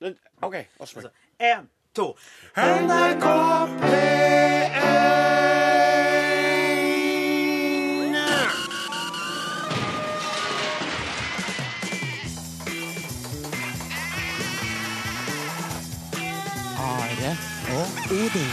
Den- OK, Åsmund. Én, to. NRK P1 Are og Odin.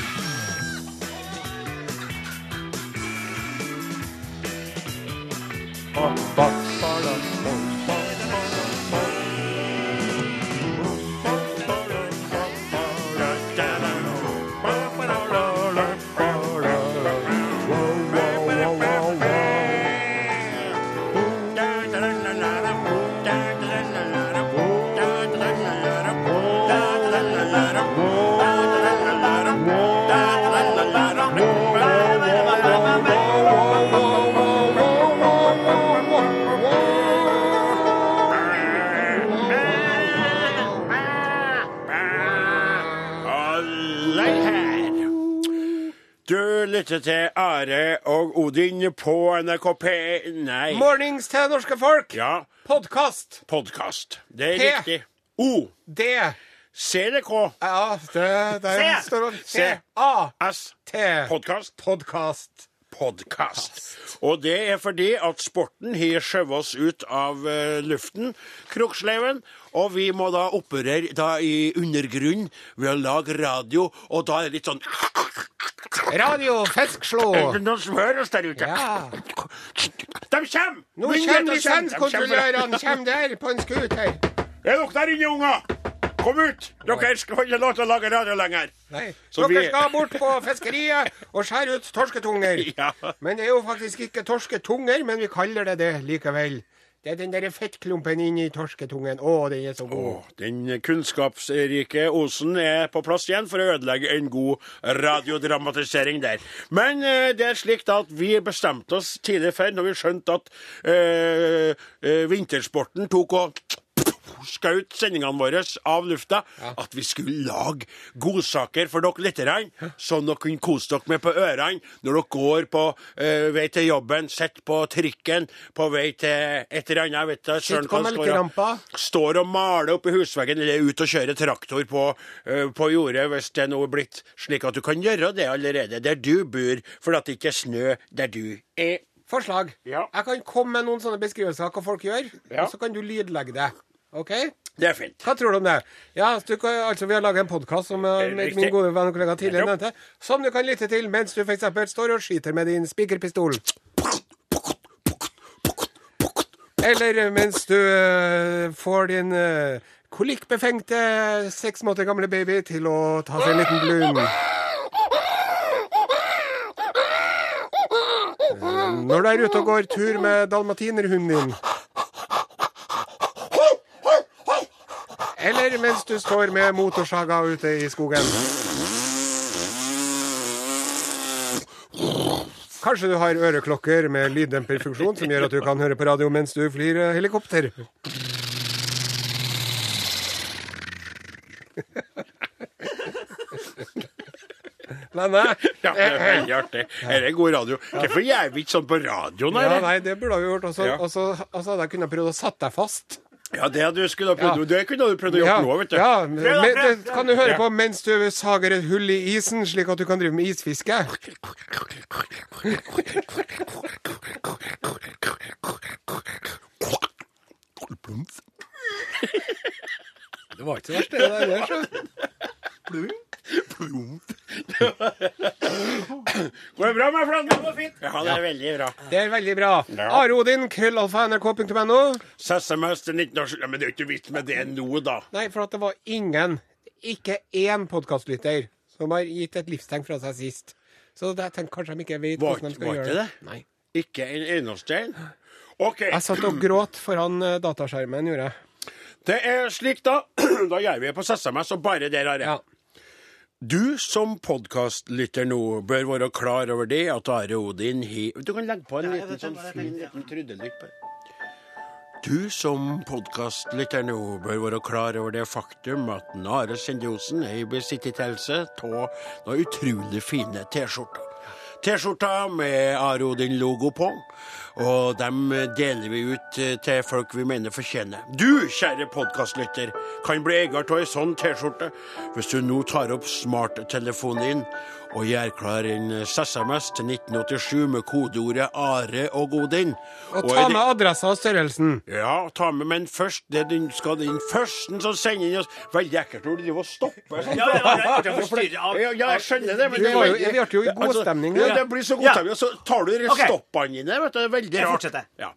Alle her. Du lytter til Are og Odin på NRK P1 Nei. Mornings til norske folk. Ja, Podkast. podkast. Det er P. riktig. O. D. CDK. Ja, det, der Se. står det. Se. A. S. T. Podkast. Podkast. Podkast. Og det er fordi at sporten har skjøvet oss ut av eh, luften, Kroksleiven, og vi må da operere da i undergrunn ved å lage radio, og da er det litt sånn Radio Er Fiskslå. det noen som hører oss der ute? Ja. De kommer! Nå Myndighetene kommer lisenskontrollørene. De kommer. Kjem der på en scooter. Er dere der inne, unger? Kom ut! Dere skal ikke lov til å lage radio lenger. Nei. Så Dere vi- skal bort på fiskeriet og skjære ut torsketunger. Ja. Men det er jo faktisk ikke torsketunger, men vi kaller det det likevel. Det er den derre fettklumpen inni torsketungen. Å, den er så god. Åh, Den kunnskapsrike Osen er på plass igjen for å ødelegge en god radiodramatisering der. Men eh, det er slik da at vi bestemte oss tidlig før, når vi skjønte at eh, eh, vintersporten tok og skaut sendingene våre av lufta, at vi skulle lage godsaker for dere lytterne, sånn dere kunne kose dere med på ørene når dere går på eh, vei til jobben, sitter på trikken, på vei til et eller annet. jeg Vet du, Sitt søren på hva det står, ja melkerampa. står og maler oppi husveggen eller er ute og kjører traktor på, eh, på jordet, hvis det nå er blitt slik at du kan gjøre det allerede der du bor, for at det ikke er snø der du er. Forslag. Ja. Jeg kan komme med noen sånne beskrivelser av hva folk gjør, Ja. og så kan du lydlegge det. OK? Det er fint. Hva tror du om det? Ja, du kan, altså Vi har laga en podkast som eh, Eh, min riktig. gode venn og kollega tidligere Nettopp. nevnte, som du kan lytte til mens du f.eks. står og skyter med din spikerpistol. Eller mens du eh, får din eh, kolikkbefengte seks måneder gamle baby til å ta seg en liten blund. Eh, Når du er ute og går tur med dalmatinerhunden din. Eller mens du står med motorsaga ute i skogen. Kanskje du har øreklokker med lyddemperfunksjon som gjør at du kan høre på radio mens du flyr eh, helikopter. Landet? Ja, det er veldig artig. Dette er god radio. Hvorfor gjør vi ikke sånn på radioen? Ja, Her? nei, det burde vi gjort. Og så Ja. og så- og så hadde jeg kunnet prøvd å sette deg fast. Ja, det du skulle ha prøvd Ja. Det kunne du prøvd å gjøre nå, vet du. ja, men, Prøv da, prøv, det kan du høre Ja. på mens du sager et hull i isen, slik at du kan drive med isfiske. Det var ikke så verst, det der. så. Går det bra med flaten? Det går fint. Ja, det er veldig bra. Det er veldig bra. Ja. Are Odin, krøllalfa, nrk.no. SMS til 1987 Ja, Men det er jo ikke vits med det nå, da. Nei, for at det var ingen, ikke én podkastlytter, som har gitt et livstegn fra seg sist. Så jeg tenker kanskje de ikke vet Var hvordan de ikke- skal var gjøre ikke det. det? Nei. Ikke en eneste en. OK. Jeg satt og gråt foran eh, dataskjermen, gjorde jeg. Det er slik, da. Da gjør vi det på SMS, og bare der har jeg. Ja. Du som podkastlytter nå bør være klar over det at Are Odin har Du kan legge på en liten sånn fin liten tryddelykt på Du som podkastlytter nå bør være klar over det faktum at den Are Sendiosen er i besittelse av noen utrolig fine T-skjorter. T-skjorta med Are Odin-logo på, Og dem eh, deler vi ut eh, til folk vi mener fortjener. Du, kjære podkastlytter, kan bli eier av ei sånn T-skjorte hvis du nå tar opp smarttelefonen din og gjør klar en SMS til 1987 med kodeordet 'Are og Godin'. Og er ta det- med adressa og størrelsen. ja, ta med, men først det er den, skal den første som sender inn oss Veldig ekkelt når du driver og stopper sånn. Ja, ja, ja, det er forstyrret av- Ja, ja, jeg skjønner det, men Vi det er var jo- veldig- vi ble jo i god Altså, stemning, Ja, ja. det blir så god Ja. stemning, og så tar du de Ok. stoppene dine, vet du. Det er veldig Jeg rart. fortsetter. Ja.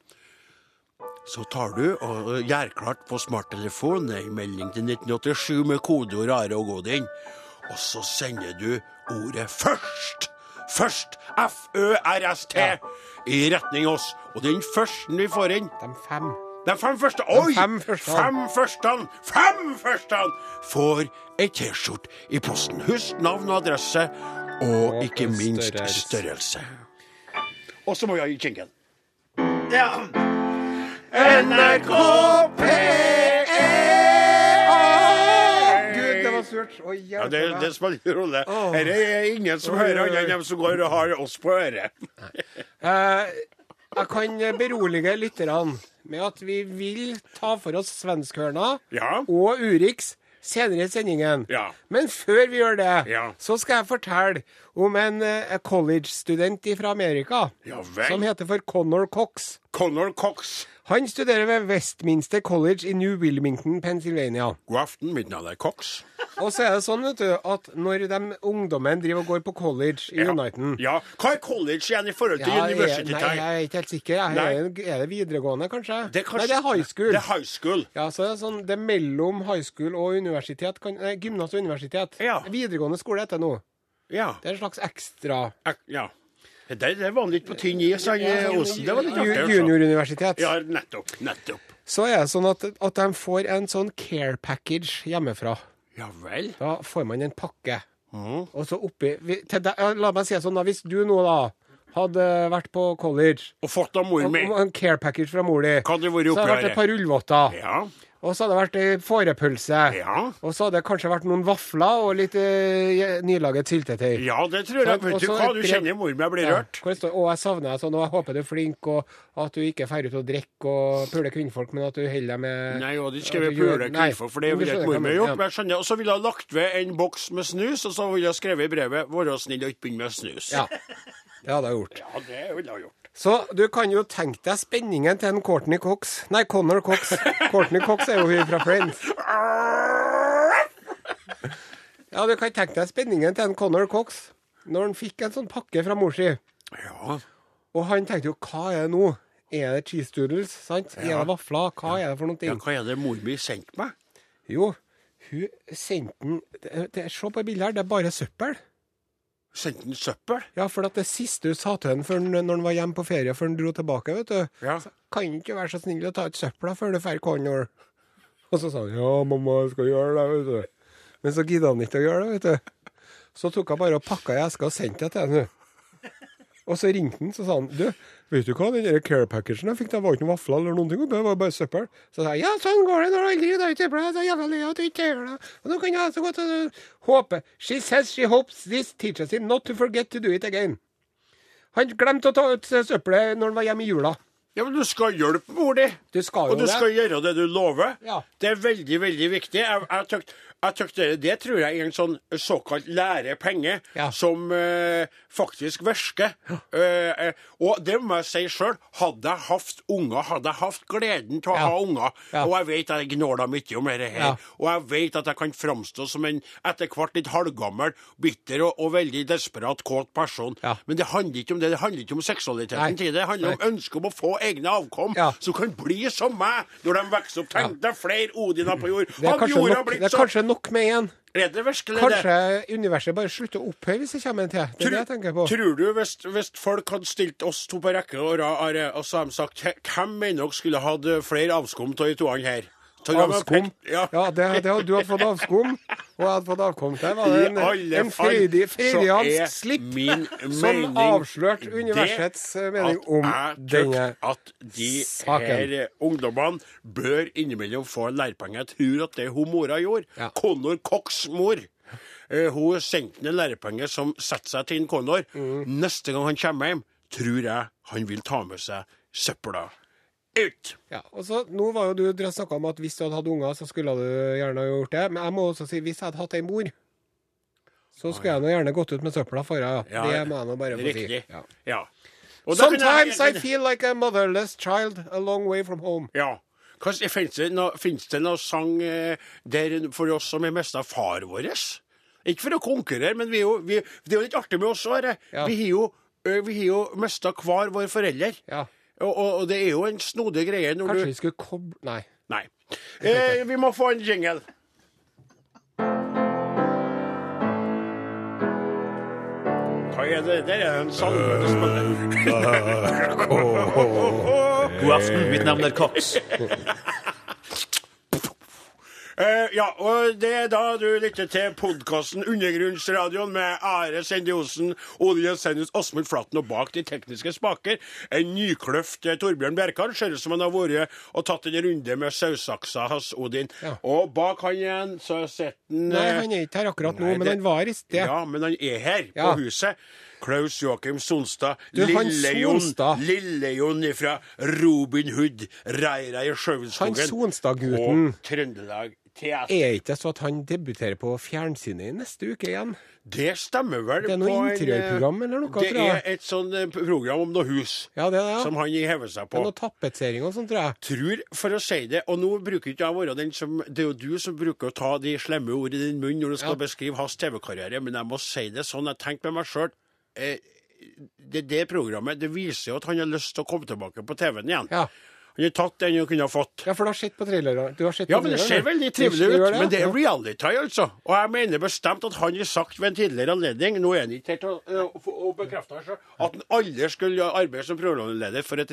Så tar du og og gjør klart på smarttelefonen en melding til 1987 med kodeord Are og Godin, og så sender du ordet først. Først, F-Ø-R-S-T, i retning oss. Og den første vi får inn, De fem. de fem første Oi! fem første. Fem førstene! Fem førstene får ei T-skjorte i posten. Husk navn og adresse, og Og ikke minst størrelse. størrelse. Og så må vi ha jingle. Ja. NRK E. Gud, det var surt. Å, Ja, det, hjelpe det meg. spiller ingen rolle. Åh. Dette er ingen som Oi, hører oi, annet enn oi. dem som går og har oss på øret. Eh, Jeg kan berolige lytterne med at vi vil ta for oss svenskhørna Ja. og Urix senere i sendingen. Ja. Men før vi gjør det, Ja. så skal jeg fortelle om en eh, college-student fra Amerika Ja vel. som heter for Connor Cox. Connor Cox. Han studerer ved Westminster College i New Wilmington, Pennsylvania. God aften, mitt navn er Cox. Og så er det sånn, vet du, at når de ungdommen driver og går på college i Ja. Uniten ja. Hva er college igjen i forhold til Ja, jeg- university Nei, time? jeg er ikke helt sikker. Jeg, Nei. er, er det videregående, kanskje? Det er Nei, kanskje- det er high school. Det er high school. Ja, så det er sånn, det er mellom high school og universitet. Kan, nei, gymnas og universitet. Ja. Videregående skole heter det nå. Ja. Det er en slags ekstra Ak- Ja. Det, det var litt på tynn is, han eh, Osen. Det var litt Ju- artig. altså. Junioruniversitet. Ja, nettopp. Nettopp. Så er det sånn at, at de får en sånn care package hjemmefra. Ja vel. Da får man en pakke. Mm. Og så oppi vi- til deg, ja, La meg si det sånn, da. Hvis du nå, da, hadde vært på college Og fått av mor og, mi. og en care package fra mor di, Hva hadde det vært så hadde det oppi vært et par rullvotter. Ja. Og så hadde det vært ei fårepølse. Ja. Og så hadde det kanskje vært noen vafler og litt eh, nylaget syltetøy. ja, det tror jeg. Sant, Vet og du så hva, et du brev- kjenner mor mi, jeg blir Ja, rørt. hvor det står 'Å, jeg savner deg sånn, og jeg håper du er flink', og at du ikke drar ut og drikker og puler kvinnfolk, men at du holder deg med Nei, og de at skrev du gjør- pule Nei, kvinnfolk, for det men du ville skjønner ikke mor hva mi jeg gjort. mener, Men jeg skjønner. Og så ville hun lagt ved en boks med snus, og så ville hun skrevet i brevet 'Vær snill og ikke begynn med snus'. Ja. ja. Det hadde jeg gjort. Ja, det ville hun gjort. Så du kan jo tenke deg spenningen til en Courtney Cox Nei, Connor Cox. Courtney Cox er jo hun fra Friends. Ja, du kan tenke deg spenningen til en Connor Cox når han fikk en sånn pakke fra mor si. Ja. Og han tenkte jo, hva er det nå? Er det cheese doodles, sant? Er det vafler? Hva er det for noen ja, ting? hva er det mor mi sendte meg? Jo, hun sendte den det- det- Se på bildet her, det er bare søppel. Sendte den søppel? Ja, for at det siste hun sa til henne før han- når han var hjemme på ferie, før han dro tilbake, vet du Ja. så, Kan ikke være så snill å ta ut søpla før du drar Connor? Og så sa han ja, mamma, jeg skal gjøre det, vet du. Men så gidda han ikke å gjøre det, vet du. Så tok hun bare og pakka i eska og sendte det til henne. Og så ringte han så sa han du, vet du hva, den der care packagen jeg fikk, det var ikke noen vafler eller noen ting, oppi, det var bare søppel. Så sa jeg ja, sånn går det når du aldri gidder å tøple deg, så jævla lei av at du ikke gjør det. Og nå kan jeg ha så godt uh, håpe. She says she hopes this teaches him not to forget to do it again. Han glemte å ta ut uh, søppelet når han var hjemme i jula. Ja, men du skal hjelpe mor di. Du skal jo Og du det. skal gjøre det du lover. Ja. Det er veldig, veldig viktig. Jeg, jeg tøkt, jeg tøkt det, det tror jeg er en sånn såkalt lærepenge Ja. som eh, faktisk virker. Eh, eh, og det må jeg si sjøl. Hadde jeg hatt unger, hadde jeg hatt gleden til å Ja. ha unger, Ja. og jeg vet jeg gnåla mye om dette her, Ja. og jeg vet at jeg kan framstå som en etter hvert litt halvgammel, bitter og, og veldig desperat kåt person, Ja. men det handler ikke om det. Det handler ikke om seksualiteten Nei. til det. Det handler om ønsket om å få egne avkom Ja. som kan bli som meg når de vokser opp. Tenk deg flere Odiner på jord. Det er, Hadde kanskje jorda nok, blitt det er sånn? kanskje nok med én. Er det virkelig Kanskje det? universet bare slutter å opphøye hvis det kommer en til. Det er det jeg tenker på. Tror du hvis, hvis folk hadde stilt oss to på rekke og rad, Are, og så hadde de sagt "Hvem- Hvem mener dere skulle hatt eh, flere avskum av de to andre her? Ta- ja, men Avskum. pek- Ja, Ja. det, det, du hadde fått avskum, og jeg hadde fått avkom. Det var I en, alle en fall freidig, så er freidiansk slipp min mening som avslørte universets eh, mening om at jeg tøkt denne. at de saken. her ungdommene bør innimellom få en lærepenge. Jeg tror at det hun mora gjorde, Ja. Connor Cox' mor eh, Hun sendte ham en lærepenge Mm. som setter seg til en Connor. Neste gang han kommer hjem, tror jeg han vil ta med seg søpla ut. Ja, og så, nå var jo du dere snakka om at hvis du hadde hatt unger, så skulle du gjerne ha gjort det. Men jeg må også si, hvis jeg hadde hatt ei mor, så skulle jeg nå gjerne gått ut med søpla for henne. Ja. Det må jeg nå bare få si. Riktig. Ja. Ja. Og da kunne jeg- Sometimes I feel like a motherless child a long way from home. Ja. Hva, finnes, det noe, finnes det noe sang eh, der for oss som er mista far vår? Ikke for å konkurrere, men vi er jo, vi, det er jo litt artig med oss òg. Ja. Vi har jo, ø, vi har jo mista hver vår forelder. Ja. Og, og, og det er jo en snodig greie når Kanskje du vi skulle koble Nei. Nei. Eh, vi må få en jingle. Hva er det? Der er det en salme. du spiller. God aften, mitt navn er Cox. Eh, ja, og det er da du lytter til podkasten Undergrunnsradioen med Are Sende Osen, Odin Jensenius, Åsmund Flatten og bak de tekniske spaker. En nykløft eh, Torbjørn Bjerkan. Ser ut som han har vært og tatt en runde med sausaksa hans, Odin. Ja. Og bak han igjen så sitter han Nei, eh, han er ikke her akkurat nå, Nei, men det- han var i sted. Ja, men han er her, Ja. på huset. Klaus Joakim Sonstad. Du, han Lille-Jon Sonstad. Lille fra Robin Hood, Reira i Han Sjøvinskogen. Sonstad-gutten Og Trøndelag TS. er ikke det så at han debuterer på fjernsynet i neste uke igjen? Det stemmer vel. Det er noe på en, eh, interiørprogram eller noe, Det tror jeg. er et sånn eh, program om noe hus Ja, det er det. som Ja. han hever seg Det på. er noe tapetsering og sånn, tror jeg. Tror, for å si det, og nå bruker ikke jeg å være den som Det er jo du som bruker å ta de slemme ord i din munn når du skal Ja. beskrive hans TV-karriere, men jeg må si det sånn. Jeg tenkte med meg sjøl eh, det, det programmet det viser jo at han har lyst til å komme tilbake på TV-en igjen. Ja. Han har tatt den han kunne ha fått. ja, for du har sett på traileren? Du har sett Ja, på men det ser traileren, veldig du? trivelig Du ut. gjør det, Men det ja. er reality, altså. Og jeg mener bestemt at han har sagt ved en tidligere anledning, nå er han ikke her til å- å- å å bekrefte det selv, at han aldri skulle arbeide som programleder for et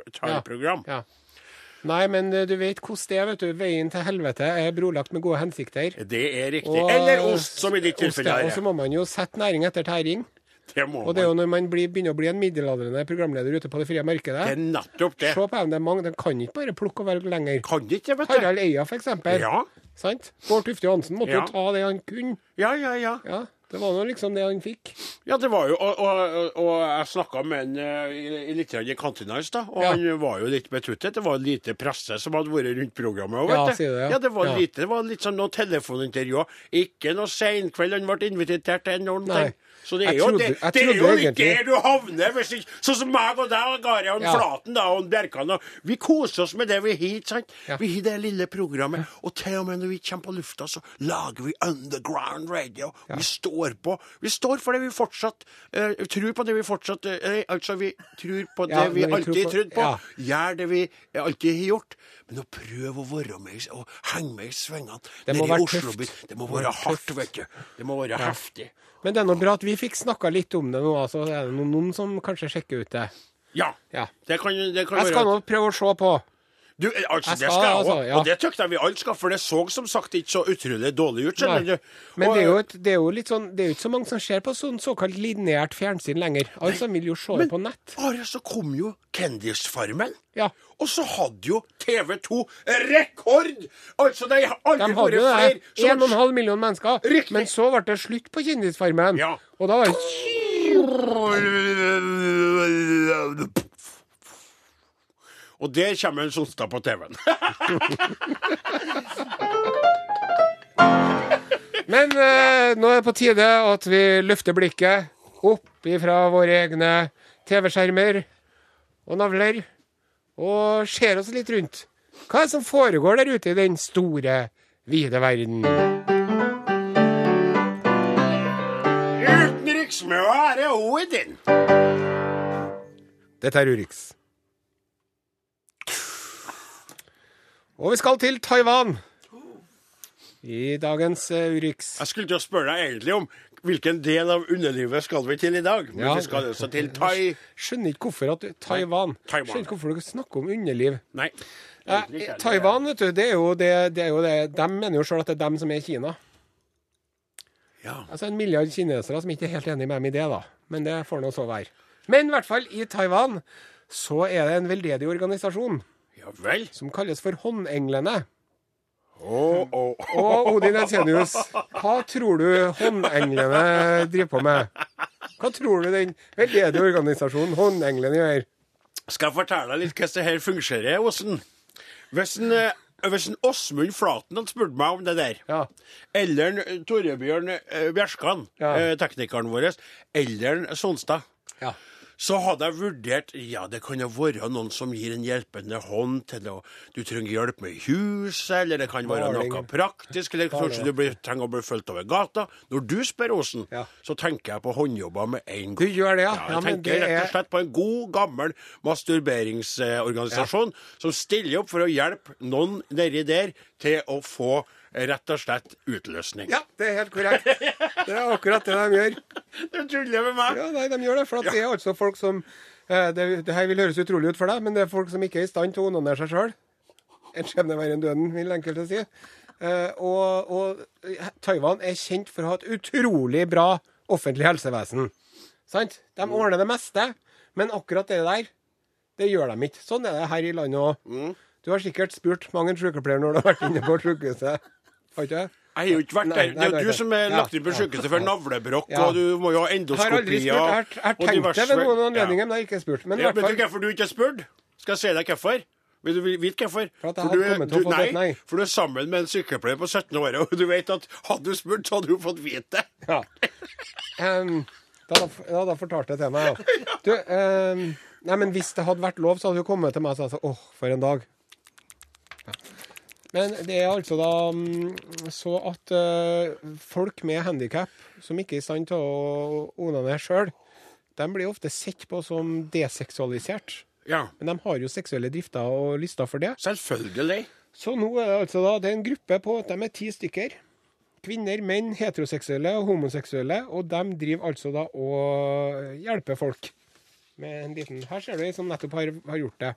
reality-program. Ja. Nei, men eh, du vet hvordan det er, vet du. Veien til helvete er brolagt med gode hensikter. Det er riktig. Og, Eller eh, ost, som i ditt ost, ja. tilfelle. Og så her. må man jo sette næring etter tæring. Det må Og det er jo man. når man blir, begynner å bli en middelaldrende programleder ute på det frie Det er markedet. nettopp det. Se på dem, det er mange. De kan ikke bare plukke og velge lenger. Kan ikke det, vet du. Harald Eia, for eksempel. Ja. Sant? Bård Tufte Johansen måtte Ja. jo ta det han kunne. Ja, ja, ja. Ja, Det var nå liksom det han fikk. Ja, det var jo, og, og, og jeg snakka med han eh, i, i litt grann i kantina i stad, og Ja. han var jo litt betuttet. Det var lite presse som hadde vært rundt programmet. og Vet Ja, du. sier det, ja. ja, det var Ja. lite. Det var litt sånn noe telefonintervju. Ikke noe seinkveld. Han ble invitert til enormt Nei. ting. Så det er Jeg jo, trodde- det, jeg det er trodde jo litt egentlig- der du havner. Hvis ikke, sånn som meg og deg, og Gari og Ja. Flaten da, og Bjerkan. Og, vi koser oss med det vi har. ikke sant? Ja. Vi har det lille programmet. Og til og med når vi kommer på lufta, så lager vi underground radio. Vi står på. Vi står for det vi fortsatt eh, tror på. det vi fortsatt eh, Altså, vi tror på det Ja, vi men vi tror alltid på- trodde på. ja. Gjør det vi alltid har gjort. Men å prøve å være med i- og henge med i svingene nede Det må i være Oslo-byen, tøft. Det må være hardt, vet du. Det må være heftig. Men det er nå bra at vi fikk snakka litt om det nå, altså. Det er noen, noen som kanskje sjekker ut det. Ja. Ja. Det kan, det kan Jeg skal være nå prøve å se på. Du, altså, det Jeg skal, skal jeg òg. altså, ja. Og det tykte jeg vi alle skal, for det så som sagt ikke så utrolig dårlig ut. skjønner Nei. du. Men Og- det er, jo et, det er jo litt sånn Det er jo ikke så mange som ser på sånn såkalt lineært fjernsyn lenger. Alle som vil jo se det på nett. eh, Are, så kom jo Kendisfarmen. Ja. Og så hadde jo TV 2 rekord! Altså, det har De aldri hadde jo vært det. flere som 1,5 million mennesker. Riktig. Men så ble det slutt på Kjendisfarmen. Ja. Og da var det Og der kommer en Sonstad på TV-en. Men eh, nå er det på tide at vi løfter blikket opp ifra våre egne TV-skjermer og navler, og ser oss litt rundt. Hva er det som foregår der ute i den store, vide verden? Utenriks med å ære Odin. Dette er Urix. Og vi skal til Taiwan. I dagens eh, Urix. Jeg skulle til å spørre deg egentlig om hvilken del av underlivet skal vi til i dag. Men Ja. vi skal altså til Tai... Skjønner ikke hvorfor at Taiwan Taiwan. Skjønner ikke hvorfor dere snakker om underliv. Nei. Ja, egentlig ikke. Taiwan, vet du, det er jo det, det, er jo det. De mener jo sjøl at det er dem som er Kina. Ja. Altså en milliard kinesere som ikke er helt enig med dem i det, da. Men det får nå så være. Men i hvert fall, i Taiwan så er det en veldedig organisasjon ja vel. som kalles for Håndenglene. Å, å, å. Og Odin Ensenius, hva tror du Håndenglene driver på med? Hva tror du den veldedige organisasjonen Håndenglene gjør? Skal jeg fortelle deg litt hvordan det her fungerer, Åsen? Hvis en eh, hvis en Åsmund Flaten hadde spurt meg om det der, Ja. eller en Torebjørn eh, Bjerskan, Ja. eh, teknikeren vår, eller en Sonstad, Ja. så hadde jeg vurdert ja, det kan jo være noen som gir en hjelpende hånd til å, Du trenger hjelp med huset, eller det kan være Maling. noe praktisk, eller kanskje du blir, trenger å bli fulgt over gata. Når du spør Åsen, Ja. så tenker jeg på håndjobber med en Du gang. gjør det, Ja, ja? Ja, jeg men det tenker rett og er slett på en god, gammel masturberingsorganisasjon som stiller opp for å hjelpe noen nedi der til å få eh, rett og slett utløsning. Ja, det er helt korrekt. Det er akkurat det de gjør. Du tuller med meg! Ja, nei, de gjør det. For at det er altså folk som eh, det, det her vil høres utrolig ut for deg, men det er folk som ikke er i stand til å onanere seg sjøl. En skjebne verre enn døden, vil enkelte si. Eh, og, og Taiwan er kjent for å ha et utrolig bra offentlig helsevesen. Sant? De Mm. ordner det meste, men akkurat det der, det gjør de ikke. Sånn er det her i landet òg. Mm. Du har sikkert spurt mange en sykepleier når du har vært inne på sykehuset. Har ikke det? Jeg har jo ikke vært Nei, der. Det nei, er nei, jo nei. du som er Ja, lagt inn på ja. sykehuset for navlebrokk, Ja. og du må jo ha Jeg har aldri endoskopier spurt. Jeg har- jeg har og tenkt det diverse- ved noen anledninger, Ja. men jeg har ikke spurt. Men i Ja, hvert vet du fall hvorfor du ikke har spurt? Skal jeg si deg hvorfor? Vil du vite hvorfor? For at jeg For hadde du er- kommet til å du- fått et nei. For du er sammen med en sykepleier på 17 år, og du vet at hadde du spurt, så hadde du fått vite det. Ja. Em, da, da, da fortalte jeg til meg, ja. Du, em, nei, men hvis det hadde vært lov, så hadde du kommet til meg og sagt åh, for en dag. Ja. Men det er altså da mm, så at eh, folk med handikap som ikke er i stand til å onanere sjøl, de blir ofte sett på som deseksualisert. Ja, Men de har jo seksuelle drifter og lyster for det. selvfølgelig. Så nå er det altså da, det er en gruppe på at de er ti stykker. Kvinner, menn, heteroseksuelle og homoseksuelle. Og de driver altså da og hjelper folk. Med en liten, her ser du ei som nettopp har, har gjort det.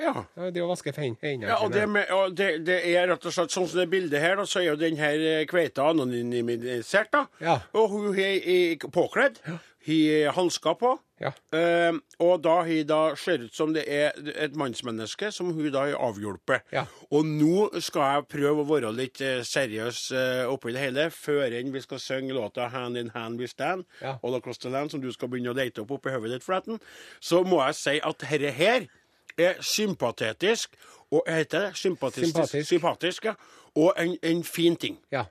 Ja. Ja, Det å vaske fe- hendene Ja, og det, med, og det, det er rett og slett sånn som det bildet her, da, så er jo den her eh, kveita anonymisert, da. Ja. Og hun er i- påkledd. Hun har hansker på. Ja. Eh, og da hun da ser ut som det er et mannsmenneske som hun da har avhjulpet. Ja. Og nå skal jeg prøve å være litt eh, seriøs eh, oppi det hele, før enn vi skal synge låta 'Hand in Hand We Stand' Ja. og La Costa Land, som du skal begynne å lete opp oppi hodet ditt, Flatten, så må jeg si at herre her er sympatetisk, og heter det sympatisk, Sympatisk. sympatisk. ja, og en, en fin ting. Ja.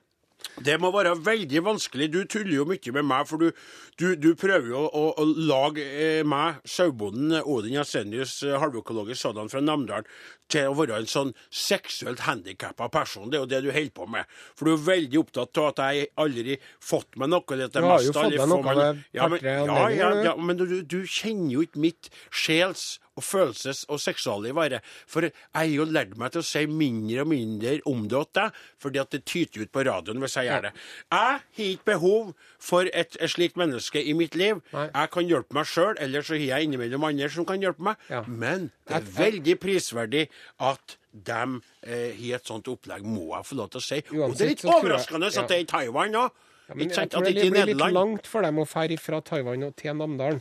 Det må være veldig vanskelig. Du tuller jo mye med meg, for du, du, du prøver jo å, å lage eh, meg, sauebonden Odin Jensenius, eh, halvøkologisk sådan fra Namdalen, til å være en sånn seksuelt handikappa person. Det er jo det du holder på med. For du er veldig opptatt av at jeg aldri fått meg noe. Det Du har jo fått deg noe ved ja, men, par-tre ja, ja, anledninger, du. ja, men du, du kjenner jo ikke mitt sjels- og følelses- og seksualliv, Are. For jeg har jo lært meg til å si mindre og mindre om det til deg, fordi at det tyter ut på radioen hvis jeg gjør det. Jeg har ikke behov for et, et slikt menneske i mitt liv. Nei. Jeg kan hjelpe meg sjøl, eller så har jeg innimellom andre som kan hjelpe meg. Ja. Men det er veldig prisverdig at de eh, har et sånt opplegg, må jeg få lov til å si. og det Uansett er litt så skulle jeg- overraskende ja. at det er i Taiwan òg. Men ikke jeg sant? tror At det det ikke er i blir litt Nederland. langt for dem å ferde fra Taiwan og til Namdalen.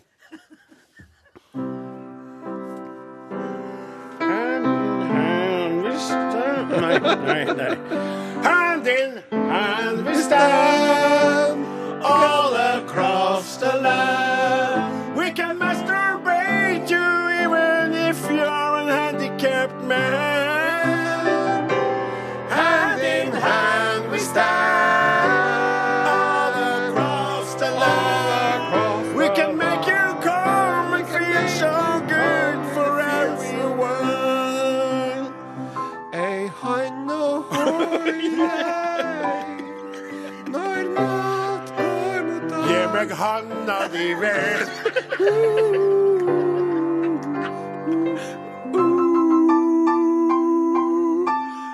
Hand in hand we stand. Nei, nei, nei. Hand in hand we stand all across the land. We can masturbate you even if you're a handicapped man. Hand in hand we stand all across the land. We can make you come and feel so good for everyone. Ei hand og hold jeg når mat går mot dag. Gi meg handa di vel.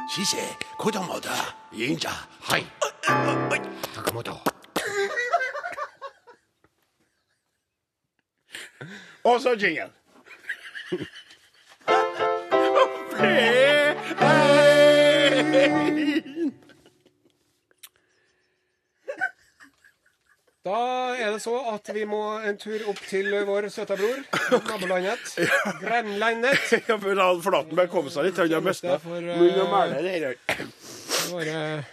Sise, kodomoda, jinja, hai. Og så jingle. Da er det så at vi må en tur opp til vår søta bror, nabolandet. Grenlandet. Ja, for han Flatenberg kom seg litt, han har mista for, eh, munn og mæle. det her. Våre eh,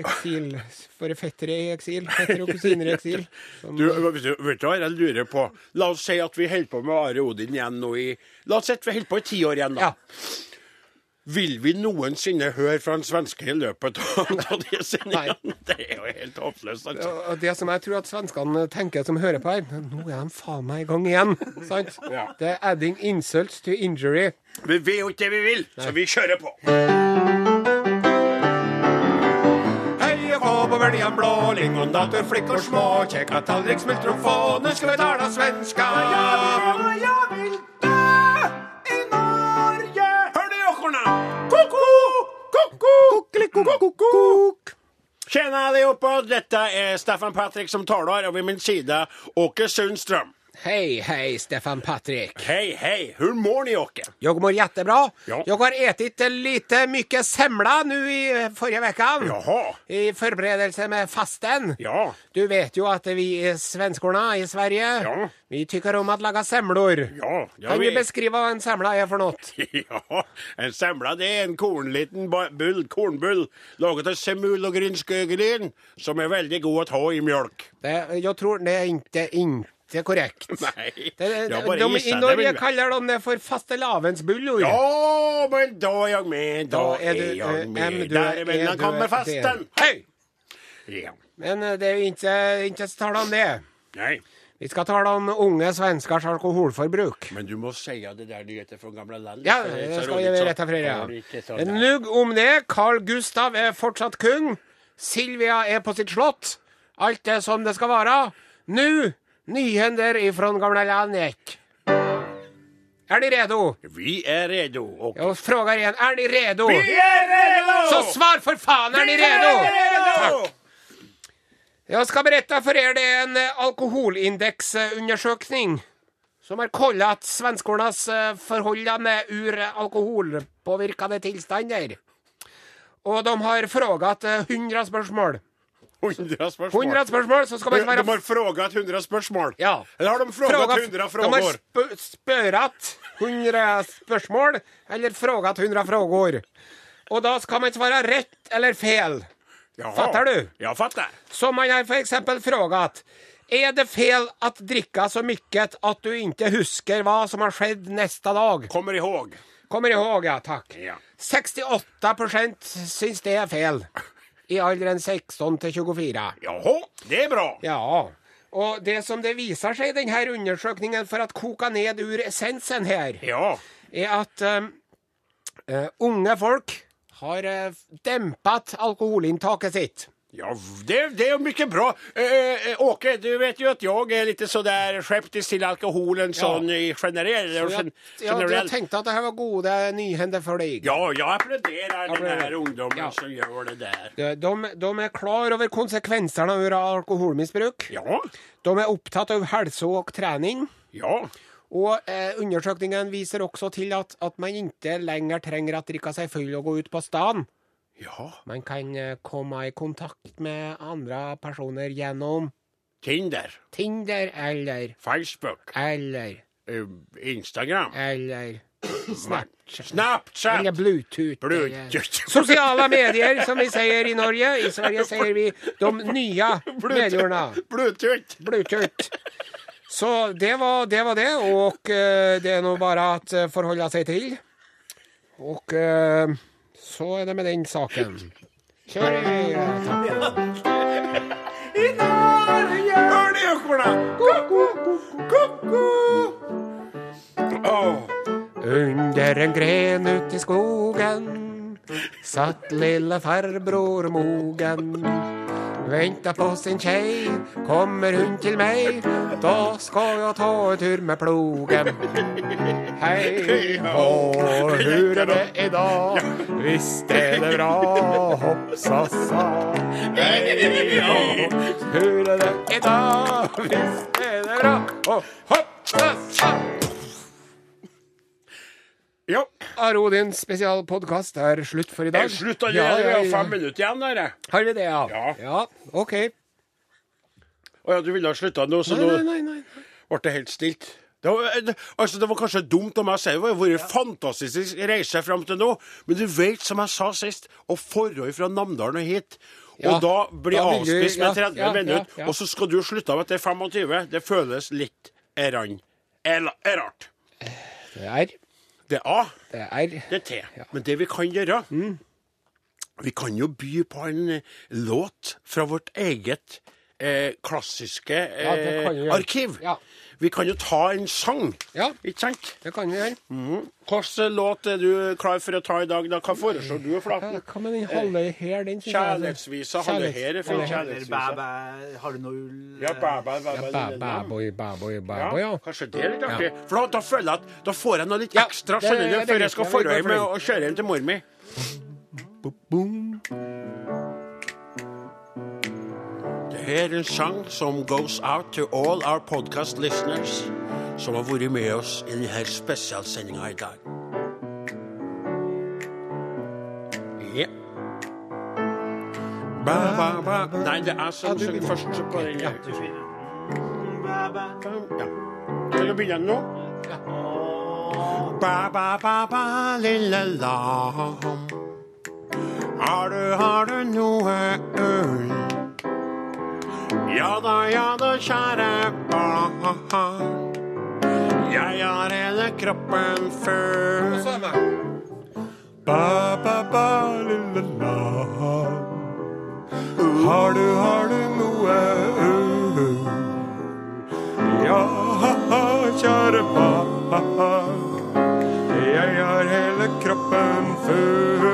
Eksil for fettere i eksil. Fettere og kusiner i eksil. Som, Du, vet du vet du hva jeg lurer på? La oss si at vi holder på med Are Odin igjen nå i La oss si at vi holder på i ti år igjen, da. ja. Vil vi noensinne høre fra en svenske i løpet av av de sendingene? Det er jo helt håpløst, altså. Og det som jeg tror at svenskene tenker som hører på her, nå er de faen meg i gang igjen. Sant? Ja. Det er adding insults to injury. Vi vet jo ikke det vi vil, så vi kjører på. Hei og kå på veljan blå, lingon, dator, flickor små, kjekka tallrik, smultronfå, nu skal vi tala svenska, ja. Jeg vil dø i Norge. Hør de åkorna. Ko-ko, ko-ko, ko-ko. Tjena allihopa, detta är Staffan Patrik som talar och vid min sida Åke Sundström. Hei, hei, Stefan Patrick. Hej, hej, hur mår ni Åke? Jeg mår jättebra. Ja. Jeg har ätit lite mycket semla nu i eh, förra veckan. Jaha, I förberedelse med fasten. ja. Du vet jo at vi er svenskorna i Sverige. Ja. Vi tykker om å lage semlor. Ja, ja, kan du vi- beskrive hva en semla er for noe? Ja, en semla det er en kornliten ba- bull, kornbull laget av semul og grynskøgelin, som er veldig god å ta i mjølk. Det, jeg tror det er ikke, ikke korrekt. Nei, Det, det, ja, de, gissa, I det Norge vil vi. kaller de det for fastelavnsbullor. Ja, men da er jeg med, da, Da er, er du, eh, jeg med. em, du Der er- er vennen er du- kommer fasten. det- Hei! Ja. Men eh, det er jo ikke, ikke så tale om det. Nei, Vi skal tale om unge svenskers alkoholforbruk. men du må si det der nyheter fra gamle land. Ja, for det så skal rolig, jeg så- rett og Ja, det er ikke slett. sånn der. Nugg om det. Carl Gustav er fortsatt kung. Silvia er på sitt slott. Alt er som det skal være. Nå nyhender ifra gamle Lanek. Er de redo? Vi er redo. Og... Jeg spør igjen. Er de redo? er redo! Så svar for faen! Er de redo? Jeg skal berette for dere det er en eh, alkoholindeksundersøkning som har kollet svenskornas eh, forholdene ur eh, alkoholpåvirkede tilstander. Og de har frågat eh, 100 spørsmål. 100 spørsmål. 100 spørsmål, så skal man De svare har frågat 100 spørsmål. Ja. Eller har de frågat 100 De har frågor? sp spørret 100 spørsmål, eller frågat 100 frågor. Og da skal man svare rett eller fel. Jaha. Fattar du? Jag fattar. Så man har f.eks. frågat Er det fel at drikka så mykket at du ikke husker hva som har skjedd neste dag? Kommer ihåg. Kommer ihåg, ja, takk. Ja. 68 syns det er fel. I alderen 16 til 24. Jaha, det är bra. Ja. Og det som det viser seg i denne undersøkningen, for å koke ned ur essensen her, Ja. er at um, eh, unge folk har eh, dempet alkoholinntaket sitt. Ja, v- det, det är mycket bra. Eh, eh, Åke, du vet ju att jag är lite sådär skeptisk till alkoholen sån i generell. Og Jeg, gen- ja, jeg generell. tenkte at det her var gode nyhender for deg. Ja, jag applåderar den Applåderar. här ungdomen Ja. som gör det där. Eh, De, de, de er klar over konsekvensene av alkoholmisbruk. Ja, De er opptatt av helse og trening. ja. Og eh, undersøkelsen viser også til at, at man ikke lenger trenger å drikke seg full og gå ut på staden. Ja, Man kan eh, komme i kontakt med andre personer gjennom Tinder, Tinder eller Facebook, eller eh, Instagram, eller Snapchat. Snapchat. Eller Bluetooth. Bluetooth. eller- Sosiale medier, som vi sier i Norge. I Sverige sier vi de nye medierne. Bluetooth. Bluetooth. Så det var det, var det og eh, det er nå bare at eh, forholde seg til. Og eh, så er det med den saken. Kjør i takk. I Norge! Hör ni åkorna? Ko-ko, ko-ko. Åh. Under en gren ute i skogen satt lille farbror Mogen. Venta på sin kjei, kommer hun til meg, da skal jeg ta en tur med plogen. Hei hå, hur er det i dag? Visst er det bra, hopp sa sa. Hei hå, hur er det i dag? Visst er det bra, hopp, hopp sa sa. Ja, Arodin spesialpodkast er slutt for i det dag. er slutt Ja, allerede. Vi ja, har ja. fem minutter igjen. Her. Har vi det, ja? Ja. OK. Å ja, du ville ha slutta nå, så Nei, nå nei, nei. nei. ble det helt stilt. Det var, eh, det- altså, det var kanskje dumt av meg å si det. Det har vært en fantastisk reise fram til nå. Men du vet, som jeg sa sist, å forholdet fra Namdalen og hit Ja. Og da blir Da vil du- avspist med ja, 30 ja, minutter, ja, ja. og så skal du slutte av etter 25. Det føles litt eran. Ela- Erart. Det er R. Det er A, Det er R. det er T. Men det vi kan gjøre Mm. Vi kan jo by på en eh, låt fra vårt eget eh, klassiske eh, det kan vi gjøre. arkiv. Ja. Vi kan jo ta en sang, Ja. ikke sant? Det kan vi gjøre. Hvilken låt er du klar for å ta i dag? da? Hva foreslår du, Flaten? Hva med den halve her? Den synes jeg er- Eh, Kjærlighetsvisa. Halve her er fra Kjærlighets- Kjærlighetsvisa. Har du noe ull? Ja, bæ, bæ, bæ, bæ, Bæ, lille bæ, lam. boy, bæ, boy, bæ, boy, Ja, ja. kanskje det er litt artig. For da, da føler jeg at da får jeg noe litt Ja, ekstra det- skjønner du, det er før greit. jeg skal Jeg vil dra gå hjem for og og kjøre hjem til mor mi. Boom. Det her er en sang som goes out to all our podcast listeners som har vært med oss i denne spesialsendinga i dag. Ja. Ba, ba, ba. Nei, det er Ja, som du som begynner. først på den ja. Ja. Skal du begynne nå? Ba, ba, ba, ba, lille lam. Har du, har du noe ull? Ja da, ja da, kjære barn. Jeg har hele kroppen full. Ba, ba, ba, lille lam. Har du, har du noe ull? Ja, kjære barn. Jeg har hele kroppen full.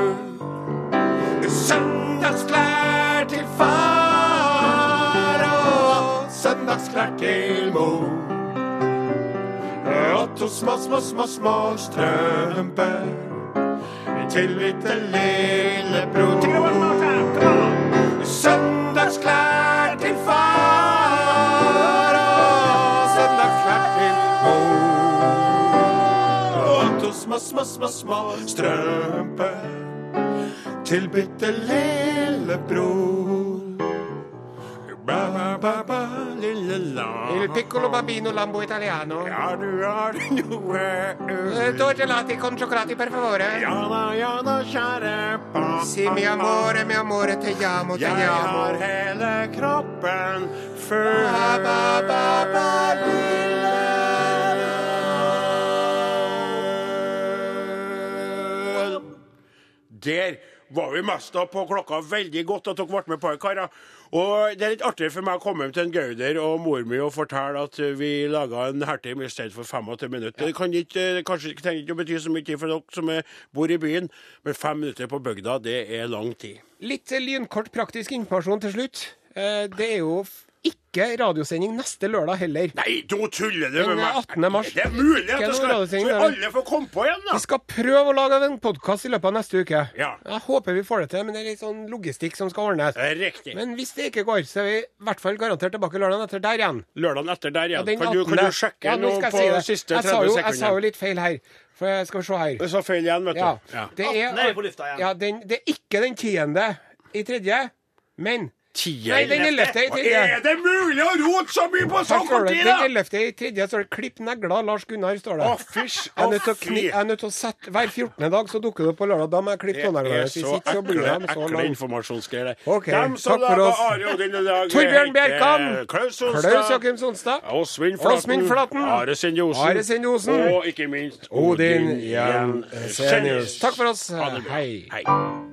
Søndagsklær til far og søndagsklær til mor. Og to små, små, små, små strømper til lille lillebror. Til og med Martin, kom an! Søndagsklær til far og søndagsklær til mor. Og to små, små, små, små strømper til bitte lillebror. Ba, ba, ba, ba, lille Il lam. piccolo bambino lambo italiano. Har du, har du noe Eh, ull? Due gelati con cioccolati, per favore. Ja da, ja da, kjære barn. Sì, mio amore, mio amore, te amo, te Jeg har amo. hele kroppen full. Ba, ba, ba, ba, Der var vi mest da på klokka veldig godt at dere ble med på det, karer. Og det er litt artig for meg å komme hjem til en Gauder og mor mi og fortelle at vi laga en halvtime i stedet for 85 minutter. Det kan ikke, eh, det kanskje ikke trenger ikke å bety så mye tid for dere som er, bor i byen, men fem minutter på bygda, det er lang tid. Litt lynkort praktisk informasjon til slutt. Eh, Det er jo f- ikke radiosending neste lørdag heller. Nei, da tuller du med Den meg! 18. mars. Det er mulig at Ikke det noe skal Så radiosending, det er det. alle får komme på igjen, da! Vi skal prøve å lage en podkast i løpet av neste uke. Ja. Eh. Jeg håper vi får det til, men det er litt sånn logistikk som skal ordnes. Det er Riktig. Men hvis det ikke går, så er vi i hvert fall garantert tilbake lørdagen etter der igjen. Lørdagen etter der igjen. den kan, du, 18. kan du sjekke Ja, nå noe skal jeg på si de det. siste Jeg sa 30 jo- Jeg sa jo sekundene? litt feil her. For jeg skal vi se her. Det sa feil igjen, vet du. Ja. Ja. Det, Atten er er, vi på lufta igjen. ja, den, det er ikke den tiende i tredje, men Tier. Nei, den ellevte i Er tredje. det mulig å rote så mye på så Her står kort det, tid, Den da?! ellevte i tredje står det 'Klipp negler', Lars Gunnar, står det. Å, fysj! Jeg er Å, nødt til å kni- fy! jeg er nødt til å sette Hver 14. dag så dukker det opp på lørdag. Da må jeg klippe Det tåneglene. er Hvis så ikke så blir ekle, de så ekle lange. informasjonsgreier, det. Ok, Dem som takk for lager oss. Are og Odin i dag, Torbjørn heter Bjerkan. Klaus Klaus Onstad. Joakim Sonstad. Åsvind Flaten. Åsvind Flaten. Are Sinde Osen. Are Sinde Osen. Og ikke minst Odin Jensenius. Jensenius. Takk for oss. Ha det bra. Hei. Hei.